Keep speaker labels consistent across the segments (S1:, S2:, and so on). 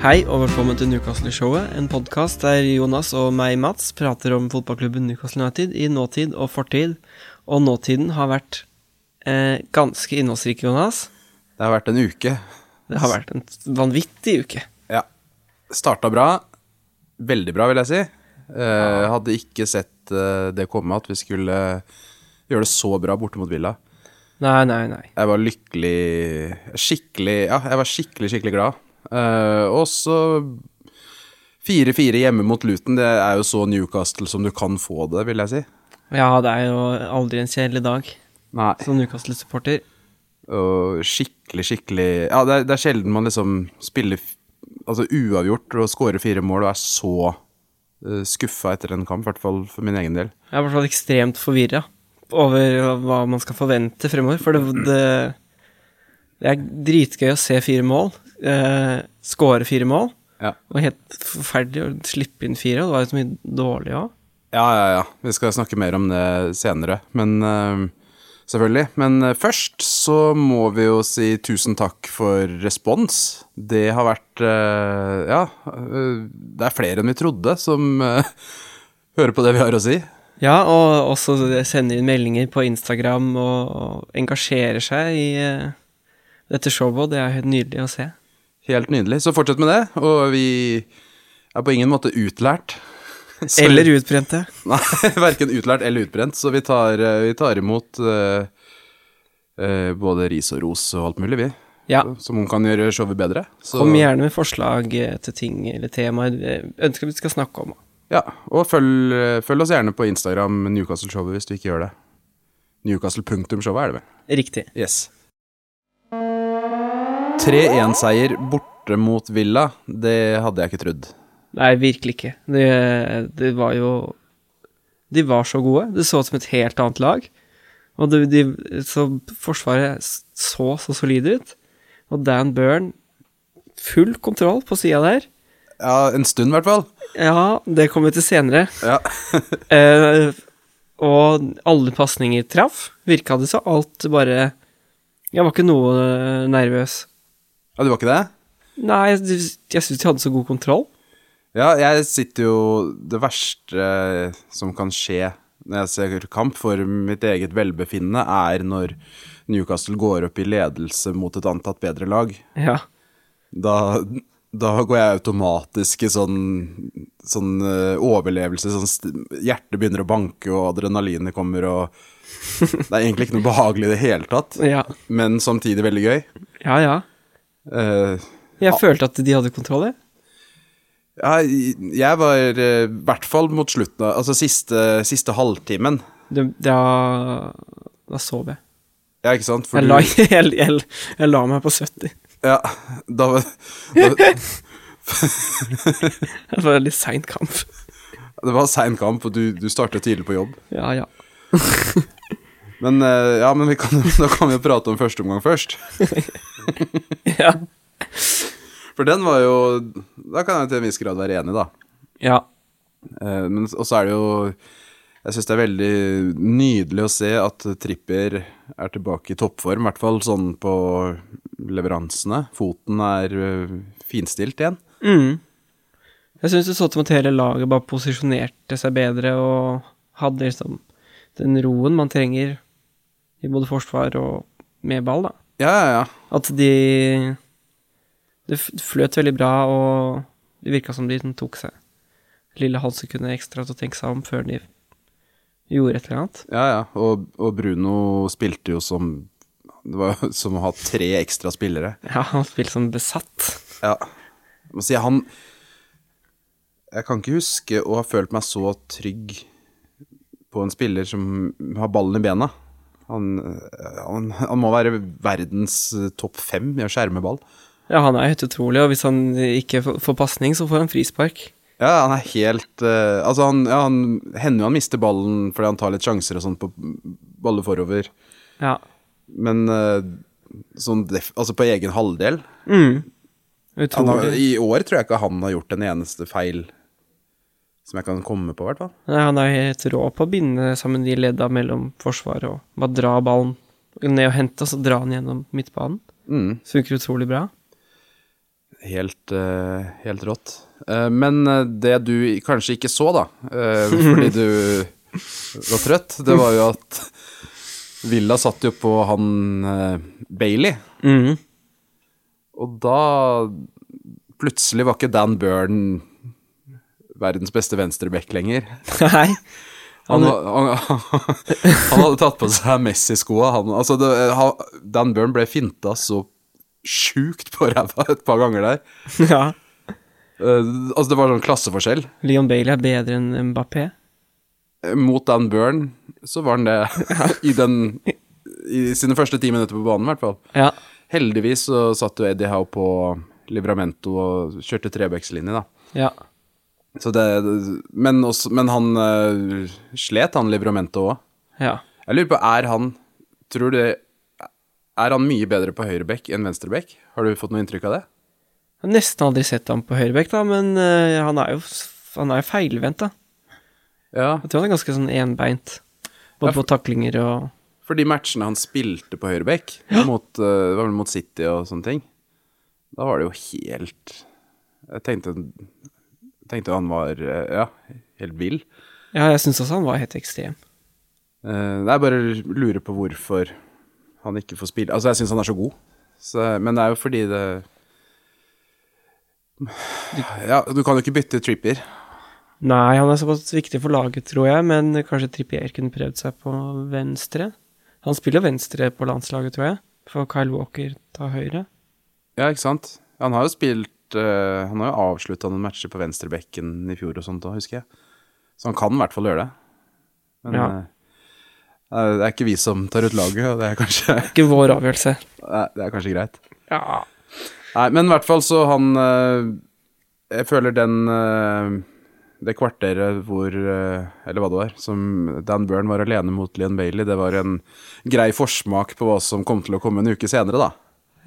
S1: Hei og velkommen til Newcastle-showet, en podkast der Jonas og meg, Mats, prater om fotballklubben Newcastle United i nåtid og fortid. Og nåtiden har vært eh, ganske innholdsrik, Jonas.
S2: Det har vært en uke.
S1: Det har vært en vanvittig uke.
S2: Ja. Starta bra. Veldig bra, vil jeg si. Eh, hadde ikke sett eh, det komme at vi skulle eh, gjøre det så bra borte mot Villa.
S1: Nei, nei, nei.
S2: Jeg var lykkelig Skikkelig Ja, jeg var skikkelig, skikkelig glad. Eh, og så 4-4 hjemme mot Luton, det er jo så Newcastle som du kan få det, vil jeg si.
S1: Ja, det er jo aldri en kjedelig dag
S2: Nei.
S1: som Newcastle-supporter.
S2: Og skikkelig, skikkelig Ja, det er, det er sjelden man liksom spiller f- altså uavgjort og scorer fire mål og er så uh, skuffa etter en kamp, i hvert fall for min egen del.
S1: Jeg er i hvert fall ekstremt forvirra over hva man skal forvente fremover, for det, det, det er dritgøy å se fire mål, eh, score fire mål.
S2: Ja.
S1: Og helt forferdelig å slippe inn fire, og det var jo så mye dårlig òg.
S2: ja, ja, ja. Vi skal snakke mer om det senere, men eh, Selvfølgelig. Men eh, først så må vi jo si tusen takk for respons. Det har vært eh, Ja, eh, det er flere enn vi trodde som eh, hører på det vi har å si.
S1: Ja, og også sender inn meldinger på Instagram og, og engasjerer seg i eh, dette showet, og det er helt nydelig å se.
S2: Helt nydelig. Så fortsett med det. Og vi er på ingen måte utlært. Så-
S1: Eller utbrente.
S2: Nei, verken utlært eller utbrent. Så vi tar, eh, vi tar imot eh, eh, både ris og ros og alt mulig, vi.
S1: Ja.
S2: Som kan gjøre showet bedre. Så,
S1: Kom gjerne med forslag eh, til ting eller temaer du eh, ønsker vi skal snakke om.
S2: Ja, og følg, eh, følg oss gjerne på Instagram, Newcastle-showet, hvis du ikke gjør det. Newcastle-punktum-showet er det vel.
S1: Riktig.
S2: Yes. 3-1-seier borte mot Villa, det hadde jeg ikke trodd.
S1: Nei, virkelig ikke. Det, det var jo De var så gode. Det så ut som et helt annet lag. Og det, de, så Forsvaret så så solid ut. Og Dan Byrne Full kontroll på sida der.
S2: Ja, en stund i hvert fall.
S1: Ja, det kommer vi til senere.
S2: Ja.
S1: Eh, og alle pasninger traff. Virka det så alt bare Jeg var ikke noe eh, nervøs.
S2: Ja, du var ikke det?
S1: Nei, jeg, jeg syns de hadde så god kontroll.
S2: Ja, jeg sitter jo Det verste eh, som kan skje når jeg ser kamp for mitt eget velbefinnende, er når Newcastle går opp i ledelse mot et antatt bedre lag.
S1: Ja.
S2: Da, da går jeg automatisk i sånn, sånn eh, overlevelse. Sånn st- hjertet begynner å banke, og adrenalinet kommer, og Det er egentlig ikke noe behagelig i det hele tatt,
S1: Ja,
S2: men samtidig veldig gøy.
S1: ja. ja.
S2: Eh,
S1: Jeg følte at de hadde kontroll, jeg.
S2: Ja, jeg var eh, i hvert fall mot slutten av Altså siste, siste halvtimen.
S1: Det, da, da sov jeg.
S2: Ja, ikke sant? For
S1: Jeg
S2: du-
S1: la, jeg, jeg, jeg la meg på 70.
S2: Ja, da, var- da,
S1: Det var en litt sein kamp.
S2: det var sein kamp, og du, du startet tidlig på jobb.
S1: Ja, ja.
S2: Men, eh, ja, men vi kan, da kan vi jo prate om første omgang først.
S1: Ja.
S2: For den var jo Da kan jeg til en viss grad være enig, da.
S1: ja.
S2: Eh, Men og så er det jo Jeg syns det er veldig nydelig å se at Trippier er tilbake i toppform, i hvert fall sånn på leveransene. Foten er eh, finstilt igjen.
S1: Mm. Jeg syns det så ut som at hele laget bare posisjonerte seg bedre og hadde liksom den roen man trenger i både forsvar og med ball, da.
S2: Ja, ja, ja.
S1: At de Det f- fløt veldig bra, og det virka som de liksom tok seg et lille halvt sekund ekstra til å tenke seg om før de gjorde et eller annet.
S2: Ja, ja. Og, og Bruno spilte jo som Det var jo som å ha tre ekstra spillere.
S1: Ja, han spilte som besatt.
S2: Ja. Jeg må si han Jeg kan ikke huske å ha følt meg så trygg på en spiller som har ballen i bena. Han, han, han må være verdens topp fem i å skjerme ball.
S1: Ja, han er helt utrolig, og hvis han ikke får får pasning, så får han frispark.
S2: Ja, han er helt eh, Altså, han, ja, han hender jo han mister ballen fordi han tar litt sjanser og sånt på baller forover.
S1: Ja.
S2: Men eh, sånn def, altså på egen halvdel
S1: Mm.
S2: Han har,
S1: Utrolig.
S2: I år tror jeg ikke han har gjort en eneste feil som jeg kan komme på, i hvert fall.
S1: Nei, han er helt rå på å binde sammen de ledda mellom forsvaret og bare dra ballen ned og hente, og så dra den gjennom midtbanen.
S2: Mm.
S1: Funker utrolig bra.
S2: Helt, eh, helt rått. Eh, men eh, det du kanskje ikke så, da, eh, fordi du var trøtt, det var jo at Villa satt jo på han eh, Bailey,
S1: Mhm.
S2: og da plutselig var ikke Dan Burn verdens beste venstreback lenger.
S1: Nei.
S2: Han, han, han, hadde tatt på seg Messi-skoa. han- Altså, det- han- Dan Burn ble finta så sjukt på ræva et par ganger der.
S1: Ja.
S2: Eh, altså, det var sånn klasseforskjell.
S1: Leon Bailey er bedre enn Mbappé.
S2: Eh, Mot Dan Burn så var han det i, den, i sine første ti minutter på banen, i hvert fall.
S1: Ja.
S2: Heldigvis så satt jo Eddie Howe på Livramento og kjørte trebekslinje, da.
S1: Ja.
S2: Så det, men, også, men han eh, slet, han Livramento òg.
S1: ja.
S2: Jeg lurer på, er han Tror du Er han mye bedre på høyrebekk enn venstrebekk? Har du fått noe inntrykk av det?
S1: Jeg har nesten aldri sett ham på høyrebekk, da, men eh, han er jo s- han er jo feilvendt, da.
S2: Ja.
S1: Jeg tror han er ganske sånn enbeint.
S2: Ja,
S1: Både
S2: for-
S1: på taklinger og
S2: For de matchene han spilte på høyrebekk, mot, eh, det var vel mot City og sånne ting, da var det jo helt Jeg tenkte, tenkte han var eh, Ja, helt vill.
S1: Ja, jeg syns også han var helt ekstrem.
S2: Eh, Jeg bare lurer på hvorfor han ikke får spille Altså, jeg syns han er så god, så, men det er jo fordi det Ja, du kan jo ikke bytte trippier.
S1: Nei, han er såpass viktig for laget, tror jeg, men kanskje Trippier kunne prøvd seg på venstre. Han spiller venstre på landslaget, tror jeg, for Kyle Walker tar høyre.
S2: Ja, ikke sant? Han har jo spilt eh, Han har jo avslutta noen matcher på venstrebekken i fjor og sånt òg, husker jeg. Så han kan i hvert fall gjøre det. Men
S1: Ja.
S2: eh, det er- det er ikke vi som tar ut laget, og det er kanskje,
S1: Ikke vår avgjørelse.
S2: nei, det er kanskje greit.
S1: Ja.
S2: Nei, men i hvert fall så han eh, Jeg føler den eh, Det kvarteret hvor eh, Eller hva det var, som Dan Burn var alene mot Leon Bailey, det var en grei forsmak på hva som kom til å komme en uke senere, da.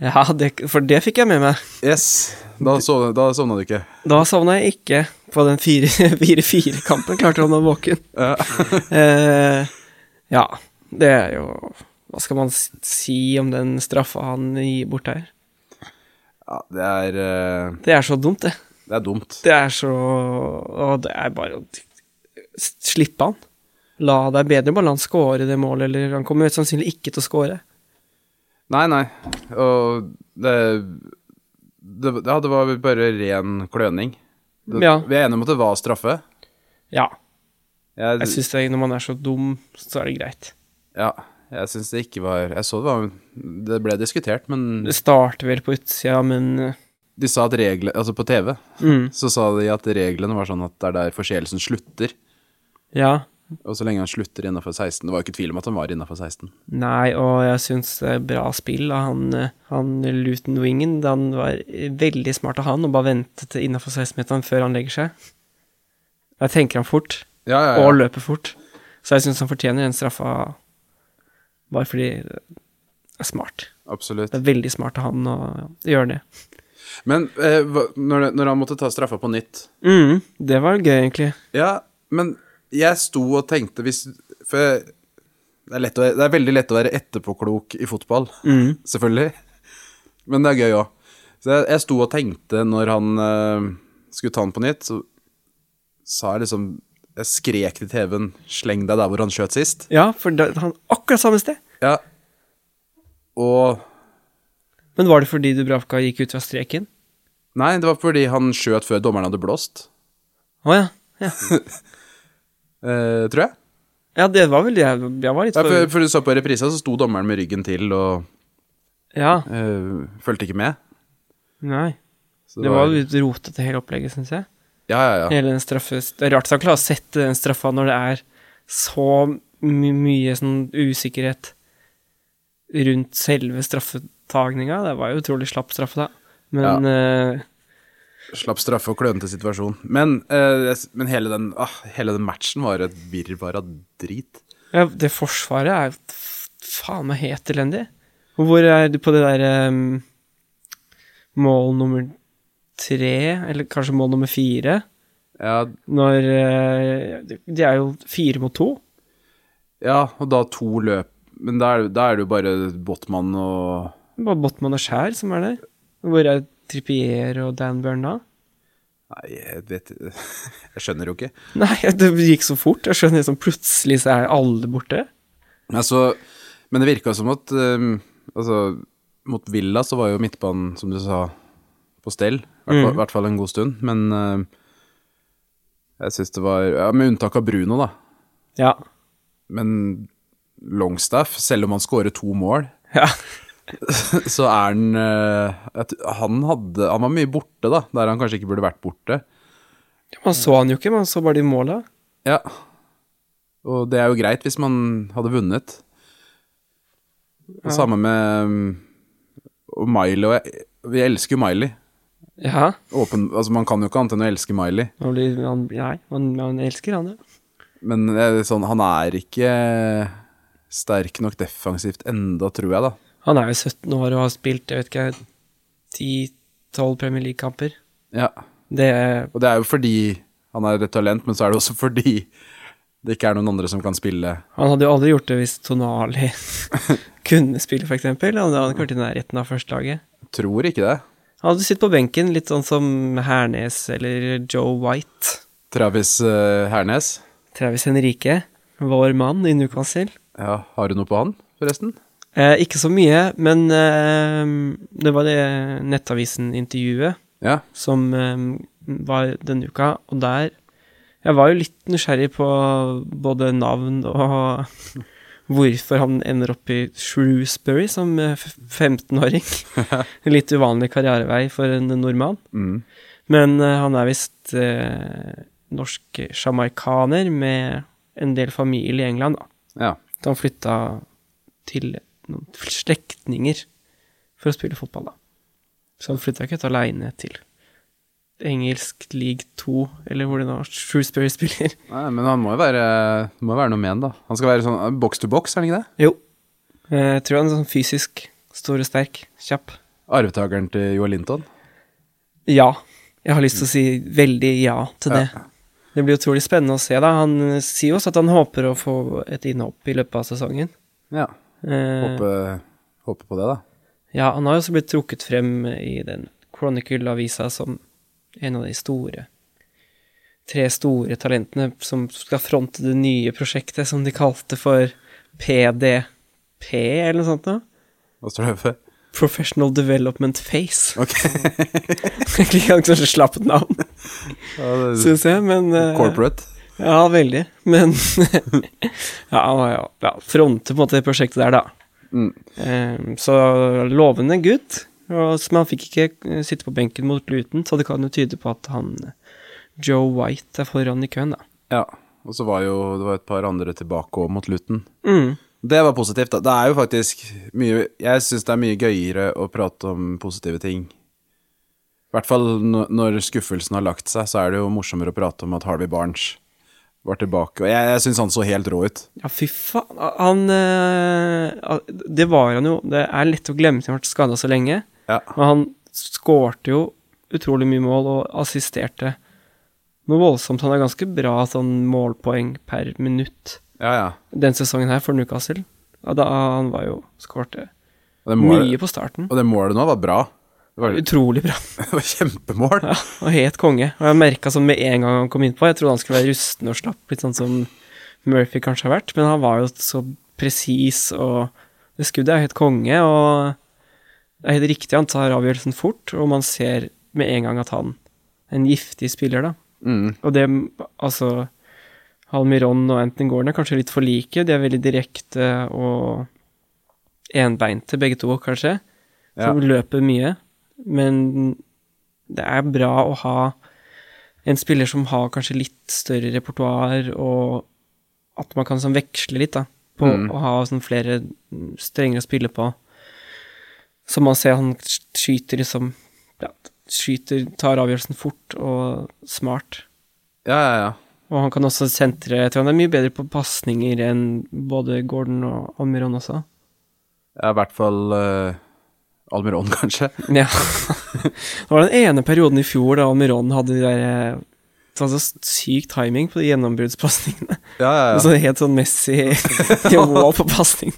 S1: ja det, for det fikk jeg med meg.
S2: Yes, da, sov, da sovna du ikke.
S1: Da savna jeg ikke på den 4-4-kampen, klarte han å være våken.
S2: Ja.
S1: Eh, ja, det er jo Hva skal man s- si om den straffa han gir bort her?
S2: Ja, det er, eh,
S1: Det er så dumt, det.
S2: det er dumt.
S1: Det er så Og det er bare å s- slippe han. La det er bedre bare la han score det målet, eller han kommer mest sannsynlig ikke til å score.
S2: Nei, nei. Og det, det, ja, det var bare ren kløning. Det,
S1: Ja.
S2: Vi er enige om at det var straffe.
S1: Ja,
S2: Jeg,
S1: jeg syns når man er så dum, så er det greit.
S2: ja, jeg syns det ikke var Jeg så det var Det ble diskutert, men
S1: Det starter vel på utsida, men eh,
S2: de sa at reglene Altså, på TV
S1: mm,
S2: så sa de at reglene var sånn at det er der forseelsen slutter.
S1: Ja.
S2: Og så lenge han slutter innafor 16 Det var jo ikke tvil om at han var innafor 16.
S1: Nei, og jeg syns det er bra spill av han, eh, han Luton Wingen. Han var eh, veldig smart av han og bare ventet innafor 16-meteren før han legger seg. Jeg tenker han fort,
S2: Ja, ja,
S1: og
S2: ja.
S1: løper fort. Så jeg syns han fortjener den straffa bare fordi det er smart.
S2: Absolutt.
S1: Det er veldig smart av han å gjøre det.
S2: Men eh, hva- når, når han måtte ta straffa på nytt
S1: Mm, det var gøy, egentlig.
S2: Ja, men jeg sto og tenkte hvis For jeg- det er, lett å, det er veldig lett å være etterpåklok i fotball,
S1: Mm.
S2: selvfølgelig. Men det er gøy òg. Så jeg, jeg sto og tenkte når han eh, skulle ta den på nytt, så sa jeg liksom Jeg skrek til TV-en 'sleng deg der hvor han skjøt sist'.
S1: Ja, for da, han akkurat samme sted.
S2: Ja. Og
S1: Men var det fordi Dubravka gikk ut fra streken?
S2: Nei, det var fordi han skjøt før dommeren hadde blåst,
S1: Å ja. ja.
S2: eh, tror jeg.
S1: Ja, det var vel det jeg, jeg var litt
S2: Ja, for,
S1: for...
S2: for du så på reprisa, så sto dommeren med ryggen til og
S1: Ja,
S2: eh, fulgte ikke med.
S1: nei.
S2: Så
S1: Det var jo litt rotete hele opplegget, syns jeg.
S2: Ja, ja, ja.
S1: Hele den straffe... Det er rart at han klarer å sette den straffa når det er så my mye sånn usikkerhet rundt selve straffetagninga. Det var jo utrolig slapp straffe, da. Men eh,
S2: Slapp straffe og klønete situasjon. Men, eh, jeg s- men hele, den, ah, hele den matchen var et virvar av drit.
S1: ja, det forsvaret er jo f- faen meg helt elendig. Og Hvor er du på det der eh, mål nummer tre, eller kanskje mål nummer fire,
S2: Ja,
S1: når eh, de- De er jo fire mot to.
S2: ja, og da to løp Men da er, da er det jo bare Botman og
S1: Det er Bare Botman og Skjær som er der. Hvor er Trippier og Dan Burna?
S2: Nei, jeg vet Jeg skjønner jo ikke.
S1: Nei, det gikk så fort. Jeg skjønner liksom plutselig så er alle borte.
S2: Altså, men det virka som at eh, altså, Mot Villa så var jo midtbanen, som du sa, på stell. I hvert, fall- hvert fall en god stund. Men eh, jeg syns det var ja, Med unntak av Bruno, da.
S1: Ja.
S2: Men Longstaff, selv om han skårer to mål,
S1: Ja.
S2: så er han eh, at han, hadde, han var mye borte, da, der han kanskje ikke burde vært borte.
S1: Man så han jo ikke, man så bare de måla.
S2: Ja. Og det er jo greit hvis man hadde vunnet. Og Samme med um, og Miley og jeg, Vi elsker jo Miley.
S1: Ja.
S2: Åpen, altså man kan jo ikke annet enn å elske Miley.
S1: Man blir, man, nei, man, man elsker han, ja.
S2: Men eh, sånn, han er ikke sterk nok defensivt enda, tror jeg, da.
S1: Han er jo 17 år og har spilt, jeg vet ikke, 10-12 Premier League-kamper.
S2: Ja.
S1: Det er
S2: Og det er jo fordi han er et talent, men så er det også fordi det ikke er noen andre som kan spille.
S1: Han hadde jo aldri gjort det hvis Tonali kunne spille, f.eks. Han hadde ikke vært i nærheten av førstelaget.
S2: Tror ikke det.
S1: Han hadde sittet på benken, litt sånn som Hernes eller Joe White.
S2: Travis eh, Hernes.
S1: Travis Henrike, vår mann i Newcastle.
S2: Ja, har du noe på han, forresten?
S1: Eh, ikke så mye, men eh, det var det Nettavisen-intervjuet
S2: Ja.
S1: som eh, var denne uka, og der Jeg var jo litt nysgjerrig på både navn og hvorfor han ender opp i Shrewsbury som eh, f- 15-åring. Litt uvanlig karrierevei for en nordmann.
S2: Mm.
S1: Men eh, han er visst eh, norsk sjamarikaner med en del familie i England, da.
S2: Ja.
S1: Så han flytta til noen slektninger for å spille fotball, da. Så han flytta ikke ut aleine til engelsk league 2, eller hvor det nå Shrewsbury spiller.
S2: Nei, men han må jo være, må jo være noe med han, da. Han skal være sånn box to box, er han ikke det?
S1: Jo. Eh, Jeg tror han er sånn fysisk stor og sterk. Kjapp.
S2: Arvtakeren til Joel Linton.
S1: Ja. Jeg har lyst til å si veldig ja til det. Det blir utrolig spennende å se, da. Han eh, sier jo også at han håper å få et innhopp i løpet av sesongen.
S2: Ja.
S1: Eh,
S2: Håpe, håpe på det, da.
S1: Ja, han har jo også blitt trukket frem i den Chronicle-avisa som en av de store Tre store talentene som skal fronte det nye prosjektet som de kalte for PDP, eller noe sånt noe.
S2: Hva står det for?
S1: Professional Development Face.
S2: Ok.
S1: Egentlig ganske sånn slappet navn,
S2: Ja, det-
S1: syns jeg, men eh,
S2: Corporate.
S1: Ja, veldig. Men Ja, han har jo- ja, fronter på en måte det prosjektet der, da.
S2: Mm.
S1: Eh, Så lovende gutt. Og som han fikk ikke eh, sitte på benken mot Luton, så det kan jo tyde på at han eh, Joe White er foran i køen, da.
S2: Ja. Og så var jo det var et par andre tilbake òg, mot Luton.
S1: Mm.
S2: Det var positivt, da. Det er jo faktisk mye Jeg syns det er mye gøyere å prate om positive ting. I hvert fall når- når skuffelsen har lagt seg, så er det jo morsommere å prate om at Harvey Barnes var tilbake. Og jeg, jeg syns han så helt rå ut.
S1: Ja, fy faen. Han eh, al- Det var han jo. Det er lett å glemme at han har vært skada så lenge.
S2: Ja.
S1: Men han skårte jo utrolig mye mål og assisterte noe voldsomt. Han har ganske bra sånn målpoeng per minutt
S2: Ja, ja.
S1: den sesongen her for Newcastle. Ja, da han var jo skårte
S2: Og det målet-
S1: mye på starten.
S2: Og det målet nå var bra. Det var,
S1: Utrolig bra.
S2: det var kjempemål.
S1: Ja, og helt konge. Og jeg merka sånn med en gang han kom innpå, jeg trodde han skulle være rusten og slapp, litt sånn som Murphy kanskje har vært, men han var jo så presis, og det skuddet er helt konge, og det er helt riktig, han tar avgjørelsen fort, og man ser med en gang at han er en giftig spiller, da.
S2: Mm.
S1: Og det, altså Halmiron og Anthony Gordon er kanskje litt for like, de er veldig direkte og enbeinte begge to, kanskje som løper mye. Men det er bra å ha en spiller som har kanskje litt større repertoar, og at man kan sånn veksle litt, da. På
S2: Mm.
S1: å ha sånn flere mm, strenger å spille på. Så man ser han sk- skyter liksom ja, Skyter, tar avgjørelsen fort og smart.
S2: Ja, ja, ja.
S1: Og han kan også sentre Jeg tror han er mye bedre på pasninger enn både Gordon og Almiron også.
S2: ja I hvert fall eh, Almiron, kanskje.
S1: Ja. Det var den ene perioden i fjor da Almiron hadde de der eh, så hadde så syk timing på de gjennombruddspasningene.
S2: Ja, ja, ja.
S1: Sånn helt sånn Messi-nivå på pasning.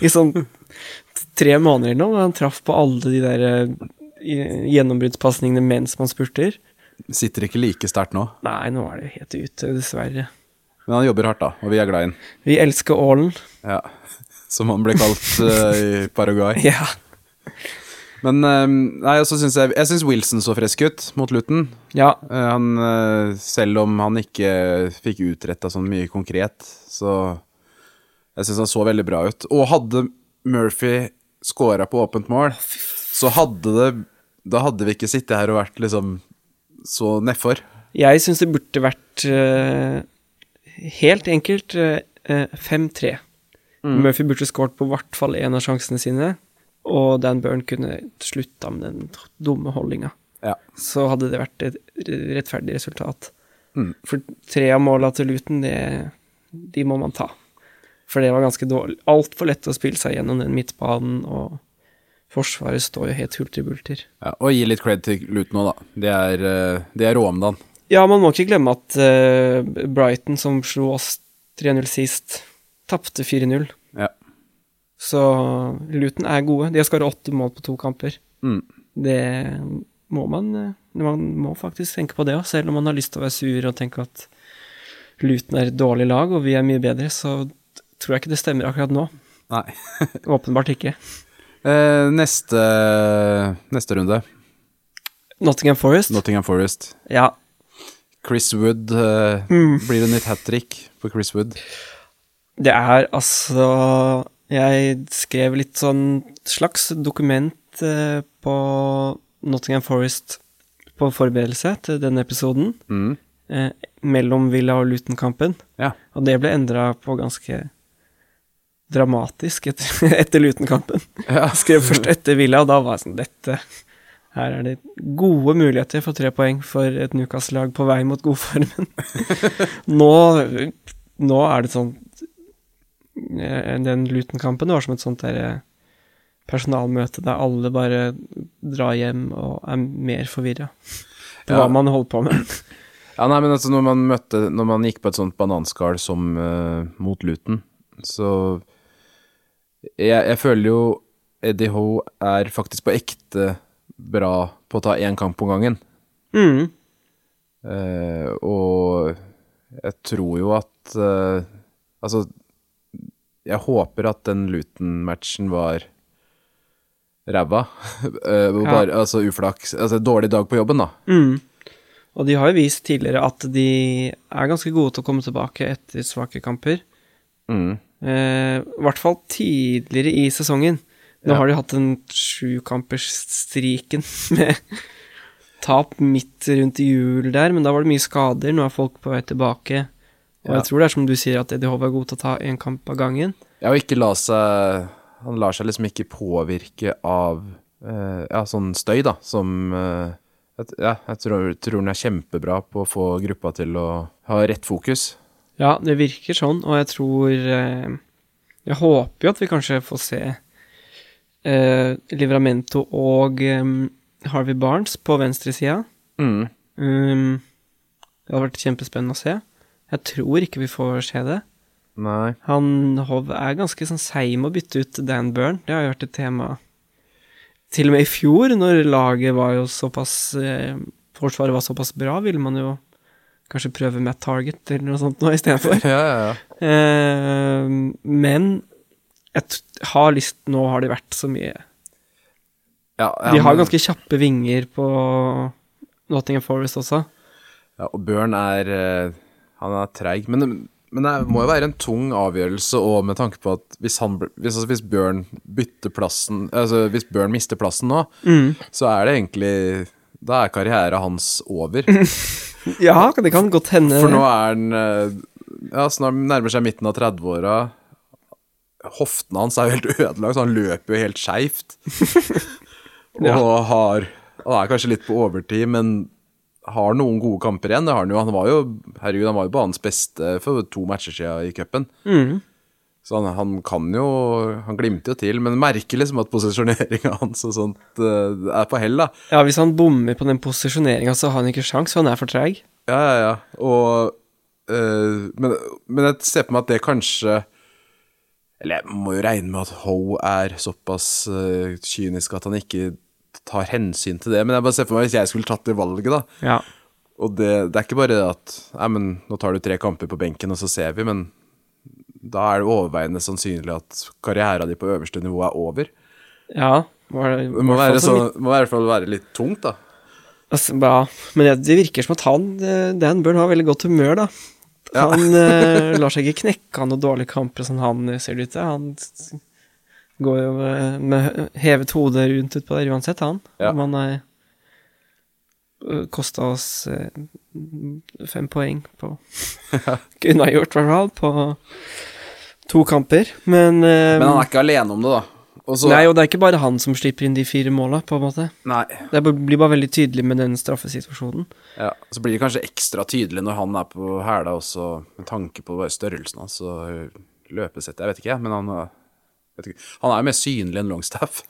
S1: I sånn tre måneder nå, og han traff på alle de der eh, i- gjennombruddspasningene mens man spurter.
S2: Sitter ikke like sterkt nå.
S1: Nei, nå er det jo helt ute, dessverre.
S2: Men han jobber hardt, da, og vi er glad i han.
S1: Vi elsker Ålen.
S2: Ja. Som han ble kalt eh, i Paraguay.
S1: Ja.
S2: Men eh, nei, og så syns jeg Jeg syns Wilson så frisk ut mot Luton.
S1: ja.
S2: Eh, han, eh, selv om han ikke fikk utretta så mye konkret, så Jeg syns han så veldig bra ut. Og hadde Murphy scora på åpent mål, så hadde det Da hadde vi ikke sittet her og vært liksom så nedfor.
S1: Jeg syns det burde vært eh, helt enkelt eh, eh, 5-3. Murphy burde skåret på hvert fall én av sjansene sine, og Dan Byrne kunne slutta med den dumme holdinga.
S2: Ja.
S1: Så hadde det vært et rettferdig resultat. For tre av måla til Luton, det, de må man ta. For det var ganske dårlig. Altfor lett å spille seg gjennom den midtbanen, og Forsvaret står jo helt hulter-bulter.
S2: Ja, og gi litt cred til Luton nå, da. Det er, eh, det er rå om dagen.
S1: Ja, man må ikke glemme at eh, Brighton, som slo oss 3-0 sist, tapte 4-0.
S2: Ja.
S1: Så Luton er gode. De har skåret åtte mål på to kamper.
S2: Mm.
S1: Det må man eh, Man må faktisk tenke på det òg, selv om man har lyst til å være sur og tenke at Luton er et dårlig lag og vi er mye bedre, så tror jeg ikke det stemmer akkurat nå.
S2: Nei.
S1: Åpenbart ikke.
S2: Eh, neste, neste runde,
S1: Nottingham Forest?
S2: Nottingham Forest.
S1: ja.
S2: Chris Wood. eh, Blir det nytt hat trick på Chris Wood?
S1: Det er altså Jeg skrev litt sånn slags dokument eh, på Nottingham Forest på forberedelse til denne episoden,
S2: Mm.
S1: eh, mellom Villa og Luton-kampen.
S2: Ja.
S1: Og det ble endra på ganske dramatisk etter, etter Luton-kampen.
S2: ja.
S1: Jeg skrev først etter Villa, og da var jeg sånn Dette her er det gode muligheter for tre poeng for et Newcastle-lag på vei mot godformen. nå, nå er det sånn eh, Den Luton-kampen var som et sånt der eh, personalmøte der alle bare drar hjem og er mer forvirra på
S2: Ja.
S1: hva man holder på med.
S2: Ja, nei, men altså når man møtte Når man gikk på et sånt bananskall som eh, mot Luton, så jeg, jeg føler jo Eddie Hoe er faktisk på ekte bra på å ta én kamp om gangen.
S1: Mm.
S2: Eh, og jeg tror jo at eh, Altså, jeg håper at den Luton-matchen var ræva. Eh, hvor
S1: Ja.
S2: bare, Altså uflaks. Altså dårlig dag på jobben, da.
S1: Mm. Og de har jo vist tidligere at de er ganske gode til å komme tilbake etter svake kamper.
S2: Mm.
S1: Eh, I hvert fall tidligere i sesongen. Nå
S2: Ja.
S1: har de hatt en sjukampersstriken med tap midt rundt i jul der, men da var det mye skader. Nå er folk på vei tilbake. Og
S2: Ja.
S1: jeg tror det er som du sier, at Eddie Hove er god til å ta én kamp av gangen.
S2: Ja, og ikke la seg Han lar seg liksom ikke påvirke av eh, ja, sånn støy, da, som eh, jeg t- Ja, jeg tror, tror han er kjempebra på å få gruppa til å ha rett fokus.
S1: Ja, det virker sånn, og jeg tror eh, Jeg håper jo at vi kanskje får se eh, Livramento og eh, Harvey Barnes på venstresida.
S2: Mm.
S1: Um, det hadde vært kjempespennende å se. Jeg tror ikke vi får se det.
S2: Nei.
S1: Han Hov er ganske sånn seig med å bytte ut Dan Byrne. Det har jo vært et tema til og med i fjor, når laget var jo såpass eh, Forsvaret var såpass bra, ville man jo kanskje prøve Matt Target eller noe sånt nå istedenfor.
S2: Ja, ja, ja.
S1: Eh, men jeg t har lyst Nå har det vært så mye
S2: ja, ja
S1: De har
S2: men-
S1: ganske kjappe vinger på Nottingham Forest også.
S2: Ja, og Børn er eh, Han er treig, men, men det må jo være en tung avgjørelse òg, med tanke på at hvis, han, bl- hvis, altså, hvis Børn bytter plassen Altså hvis Børn mister plassen nå, så er det egentlig Da er karrieren hans over.
S1: Ja, det kan godt hende.
S2: For nå er han eh, Ja, snart nærmer seg midten av 30-åra. Hoftene hans er jo helt ødelagt, så han løper jo helt skeivt. Og har Han er kanskje litt på overtid, men har noen gode kamper igjen. Det har han jo. Han var jo herregud, han var jo banens beste for to matcher siden i cupen. Så han, han kan jo Han glimter jo til, men merker liksom at posisjoneringa hans og sånt eh, er på hell, da.
S1: Ja, hvis han bommer på den posisjoneringa, så har han ikke sjans, for han er for treig.
S2: Ja, ja, ja. Og, øh, men, men jeg ser på meg at det kanskje Eller jeg må jo regne med at Ho er såpass øh, eh, kynisk at han ikke tar hensyn til det. Men jeg bare ser for meg hvis jeg skulle tatt det valget, da.
S1: Ja.
S2: Og det, det er ikke bare at Nei, men nå tar du tre kamper på benken, og så ser vi, men da er det overveiende sannsynlig at karriera di på øverste nivå er over.
S1: ja var det,
S2: Det må, være så, Um, må i hvert fall være litt tungt, da.
S1: Altså, ja, men det- det virker som at han, eh, Dan Burn har veldig godt humør, da. Han eh, lar seg ikke knekke av noen dårlige kamper som han eh, ser det ut til. Han s- går jo eh, med, med hevet hode rundt utpå der uansett, han.
S2: Ja.
S1: Om han er Kosta oss eh, fem poeng på Kunne ha gjort, i hvert fall, på to kamper. Men, eh,
S2: Men han er ikke alene om det, da. Og så
S1: Nei, og det er ikke bare han som slipper inn de fire måla, på en måte.
S2: Nei.
S1: Det blir bare veldig tydelig med den straffesituasjonen.
S2: Ja, så blir det kanskje ekstra tydelig når han er på hæla også, med tanke på bare størrelsen hans og løpesettet. Jeg vet ikke, jeg, men han, øh, vet ikke. han er jo mer synlig enn Longstaff.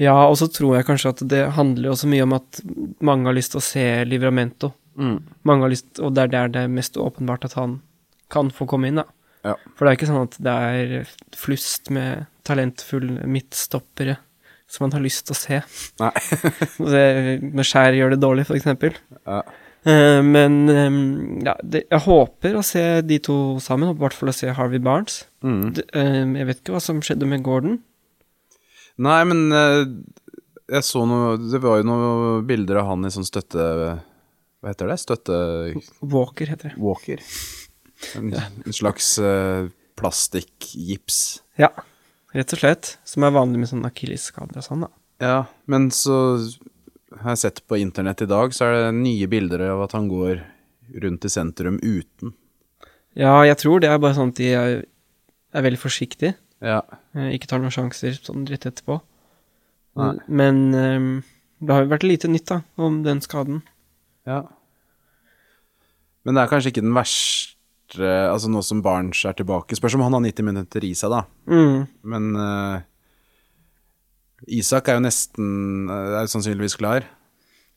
S1: Ja, og så tror jeg kanskje at det handler jo også mye om at mange har lyst til å se Livramento. Mange har lyst, og det er der det er mest åpenbart at han kan få komme inn, da.
S2: Ja.
S1: For det er ikke sånn at det er flust med talentfulle midtstoppere som man har lyst til å se.
S2: Nei.
S1: Og det- Med skjær gjør det dårlig, for eksempel.
S2: Ja.
S1: Eh, Men eh, ja, det, jeg håper å se de to sammen, og i hvert fall å se Harvey Barnes.
S2: Mm.
S1: Det- eh, Jeg vet ikke hva som skjedde med Gordon.
S2: Nei, men øh, jeg så noe Det var jo noen bilder av han i sånn støtte... Hva heter det? Støttewalker?
S1: Walker heter det.
S2: En, en slags øh, plastikkgips.
S1: Ja, rett og slett. Som er vanlig med sånne akillesskader og sånn, da.
S2: Ja, men så har jeg sett på internett i dag, så er det nye bilder av at han går rundt i sentrum uten.
S1: Ja, jeg tror det er bare sånn at de er, er veldig forsiktige.
S2: Ja.
S1: eh, Ikke tar noen sjanser sånn rett etterpå.
S2: Nei.
S1: Men eh, det har jo vært lite nytt, da, om den skaden.
S2: ja. Men det er kanskje ikke den verste Altså nå som Barnes er tilbake. Spørs om han har 90 minutter i seg, da.
S1: Mm.
S2: Men eh, Isak er jo nesten eh, Er sannsynligvis klar.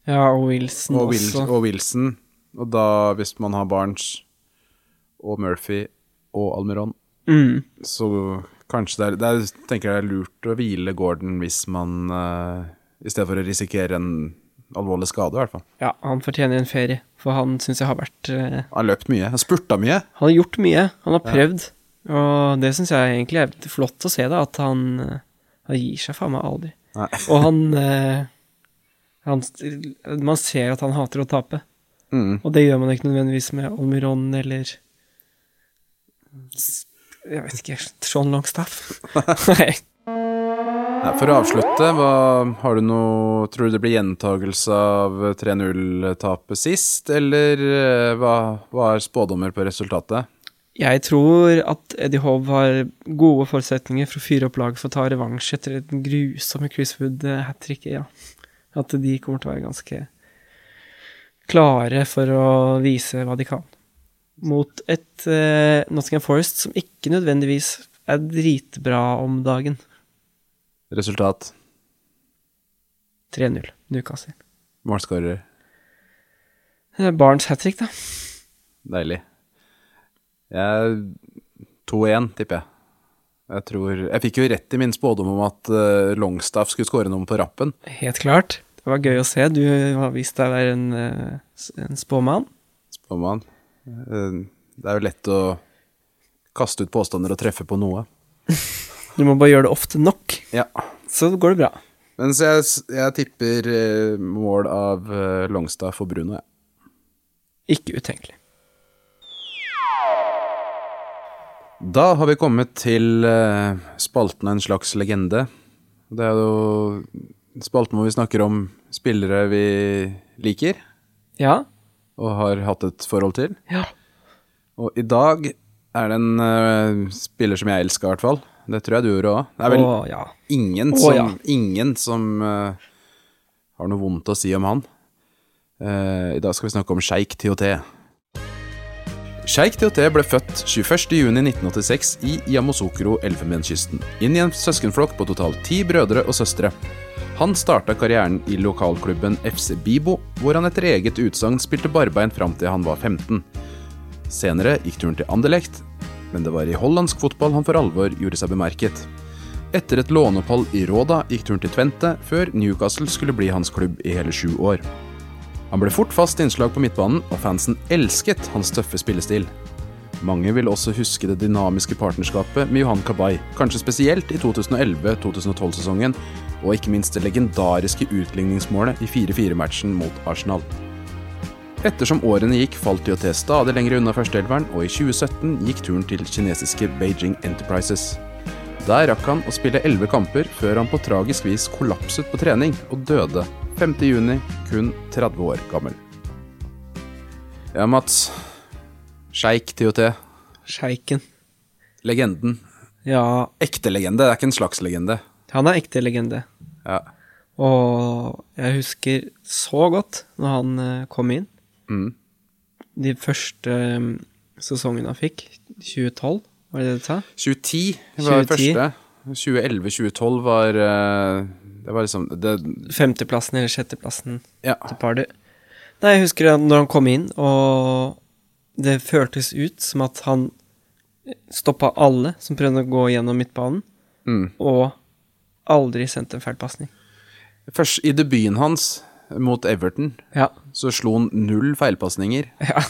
S1: Ja, og Wilson
S2: Og, Wil
S1: også.
S2: og Wilson. Og da, hvis man har Barnes og Murphy og Almiron
S1: Mm.
S2: Så kanskje det er, det er, tenker jeg det er lurt å hvile Gordon hvis man eh, I stedet for å risikere en alvorlig skade, i hvert fall.
S1: Ja, han fortjener en ferie, for han syns jeg har vært eh,
S2: Han har løpt mye. Han spurta mye.
S1: Han har gjort mye, han har prøvd, og det syns jeg egentlig er flott å se, da, at han, eh, han gir seg faen meg aldri.
S2: Nei.
S1: Og han, eh, han Man ser at han hater å tape,
S2: Mm.
S1: og det gjør man ikke nødvendigvis med Almiron eller s- Jeg vet ikke Sean Longstaff. Nei.
S2: Nei, for å avslutte, hva, har du noe Tror du det blir gjentagelse av 3-0-tapet sist, eller eh, hva, hva er spådommer på resultatet?
S1: Jeg tror at Eddie Hove har gode forutsetninger for å fyre opp laget for å ta revansj etter den grusomme Chris Wood-hat tricket, ja. At de kommer til å være ganske klare for å vise hva de kan. Mot et eh, Nottingham Forest som ikke nødvendigvis er dritbra om dagen.
S2: Resultat,
S1: 3-0, Newcastle.
S2: målskårer,
S1: Eh, Barnes hat trick, da.
S2: deilig. Jeg 2-1, tipper jeg. Jeg tror Jeg fikk jo rett i min spådom om at eh, Longstaff skulle skåre noen på rappen.
S1: Helt klart. Det var gøy å se. Du har vist deg å være en, eh, s- en spåmann.
S2: spør man. Eh, Det er jo lett å kaste ut påstander og treffe på noe.
S1: Du må bare gjøre det ofte nok,
S2: Ja.
S1: så går det bra.
S2: Mens jeg, s- jeg tipper eh, mål av eh, Longstaff og Bruno, jeg.
S1: Ikke utenkelig.
S2: Da har vi kommet til eh, spalten En slags legende. Det er jo spalten hvor vi snakker om spillere vi liker
S1: Ja.
S2: og har hatt et forhold til.
S1: Ja.
S2: Og i dag er det en eh, spiller som jeg elsker, i hvert fall. Det tror jeg du gjorde òg. Det er vel
S1: Og, ja.
S2: Ingen
S1: Å,
S2: som,
S1: ja.
S2: ingen som eh, har noe vondt å si om han. Eh, I dag skal vi snakke om sjeik TOT. Sjeik TOT ble født 21.6.1986 i Yamosokro, Elfenbenskysten. Inn i en søskenflokk på totalt ti brødre og søstre. Han starta karrieren i lokalklubben FC Bibo, hvor han etter eget utsagn spilte barbein fram til han var 15. Senere gikk turen til Anderlecht, men det var i hollandsk fotball han for alvor gjorde seg bemerket. Etter et låneopphold i Råda gikk turen til Twente, før Newcastle skulle bli hans klubb i hele sju år. Han ble fort fast innslag på midtbanen, og fansen elsket hans tøffe spillestil. Mange vil også huske det dynamiske partnerskapet med Johan Kabay, kanskje spesielt i 2011-2012-sesongen, og ikke minst det legendariske utligningsmålet i 4-4-matchen mot Arsenal. Ettersom årene gikk, falt IOT stadig lenger unna førsteelveren, og i 2017 gikk turen til kinesiske Beijing Enterprises. Der rakk han å spille elleve kamper før han på tragisk vis kollapset på trening og døde 5.6, kun 30 år gammel. Ja, Mats. Sjeik TOT.
S1: Sjeiken.
S2: Legenden.
S1: Ja,
S2: Ekte legende, det er ikke en slags legende.
S1: han er ekte legende.
S2: Ja.
S1: Og jeg husker så godt når han eh, kom inn.
S2: Mm.
S1: De første um, sesongene han fikk, 2012, var det det du sa?
S2: 2010
S1: 2010.
S2: var første. 2011-2012 var eh, Det var liksom det,
S1: Femteplassen eller sjetteplassen
S2: Ja.
S1: til Pardy. Nei, jeg husker at når han kom inn, og det føltes ut som at han stoppa alle som prøvde å gå gjennom midtbanen,
S2: Mm.
S1: og aldri sendte en feil pasning.
S2: Først i debuten hans mot Everton
S1: Ja.
S2: så slo han null feilpasninger.
S1: ja.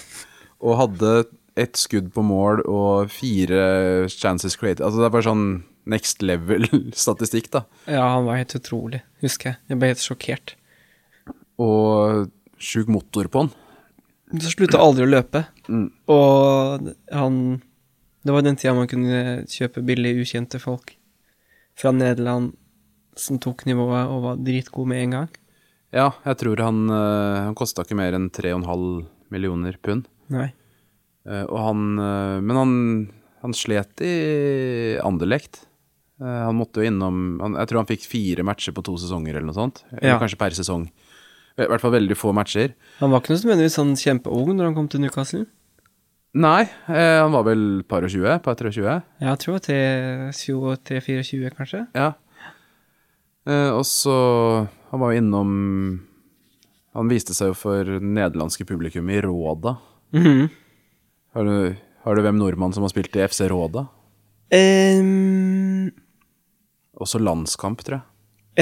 S2: og hadde ett skudd på mål og fire chances created. Altså det er bare sånn next level-statistikk, da.
S1: Ja, han var helt utrolig, husker jeg. Jeg ble helt sjokkert.
S2: Og sjuk motor på han.
S1: Så slutta aldri å løpe.
S2: Mm.
S1: Og han Det var den tida man kunne kjøpe billig ukjente folk fra Nederland som tok nivået og var dritgod med en gang.
S2: Ja, jeg tror han, eh, han kosta ikke mer enn 3,5 millioner pund.
S1: Nei.
S2: Eh, Og han eh, Men han, han slet i Anderlecht. Eh, Han måtte jo innom han, Jeg tror han fikk fire matcher på to sesonger eller noe sånt. Eller
S1: Ja.
S2: kanskje per sesong. I hvert fall veldig få matcher.
S1: Han var ikke noe som nødvendigvis sånn kjempeung når han kom til Newcastle.
S2: Nei, eh, han var vel par og tjue? Par 23?
S1: Ja, Jeg tror det var 3-24, kanskje.
S2: Ja. Eh, og så Han var jo innom Han viste seg jo for det nederlandske publikum i Råda.
S1: Mhm.
S2: Har du, har du hvem nordmann som har spilt i FC Råda?
S1: Ehm,
S2: Også landskamp, tror jeg.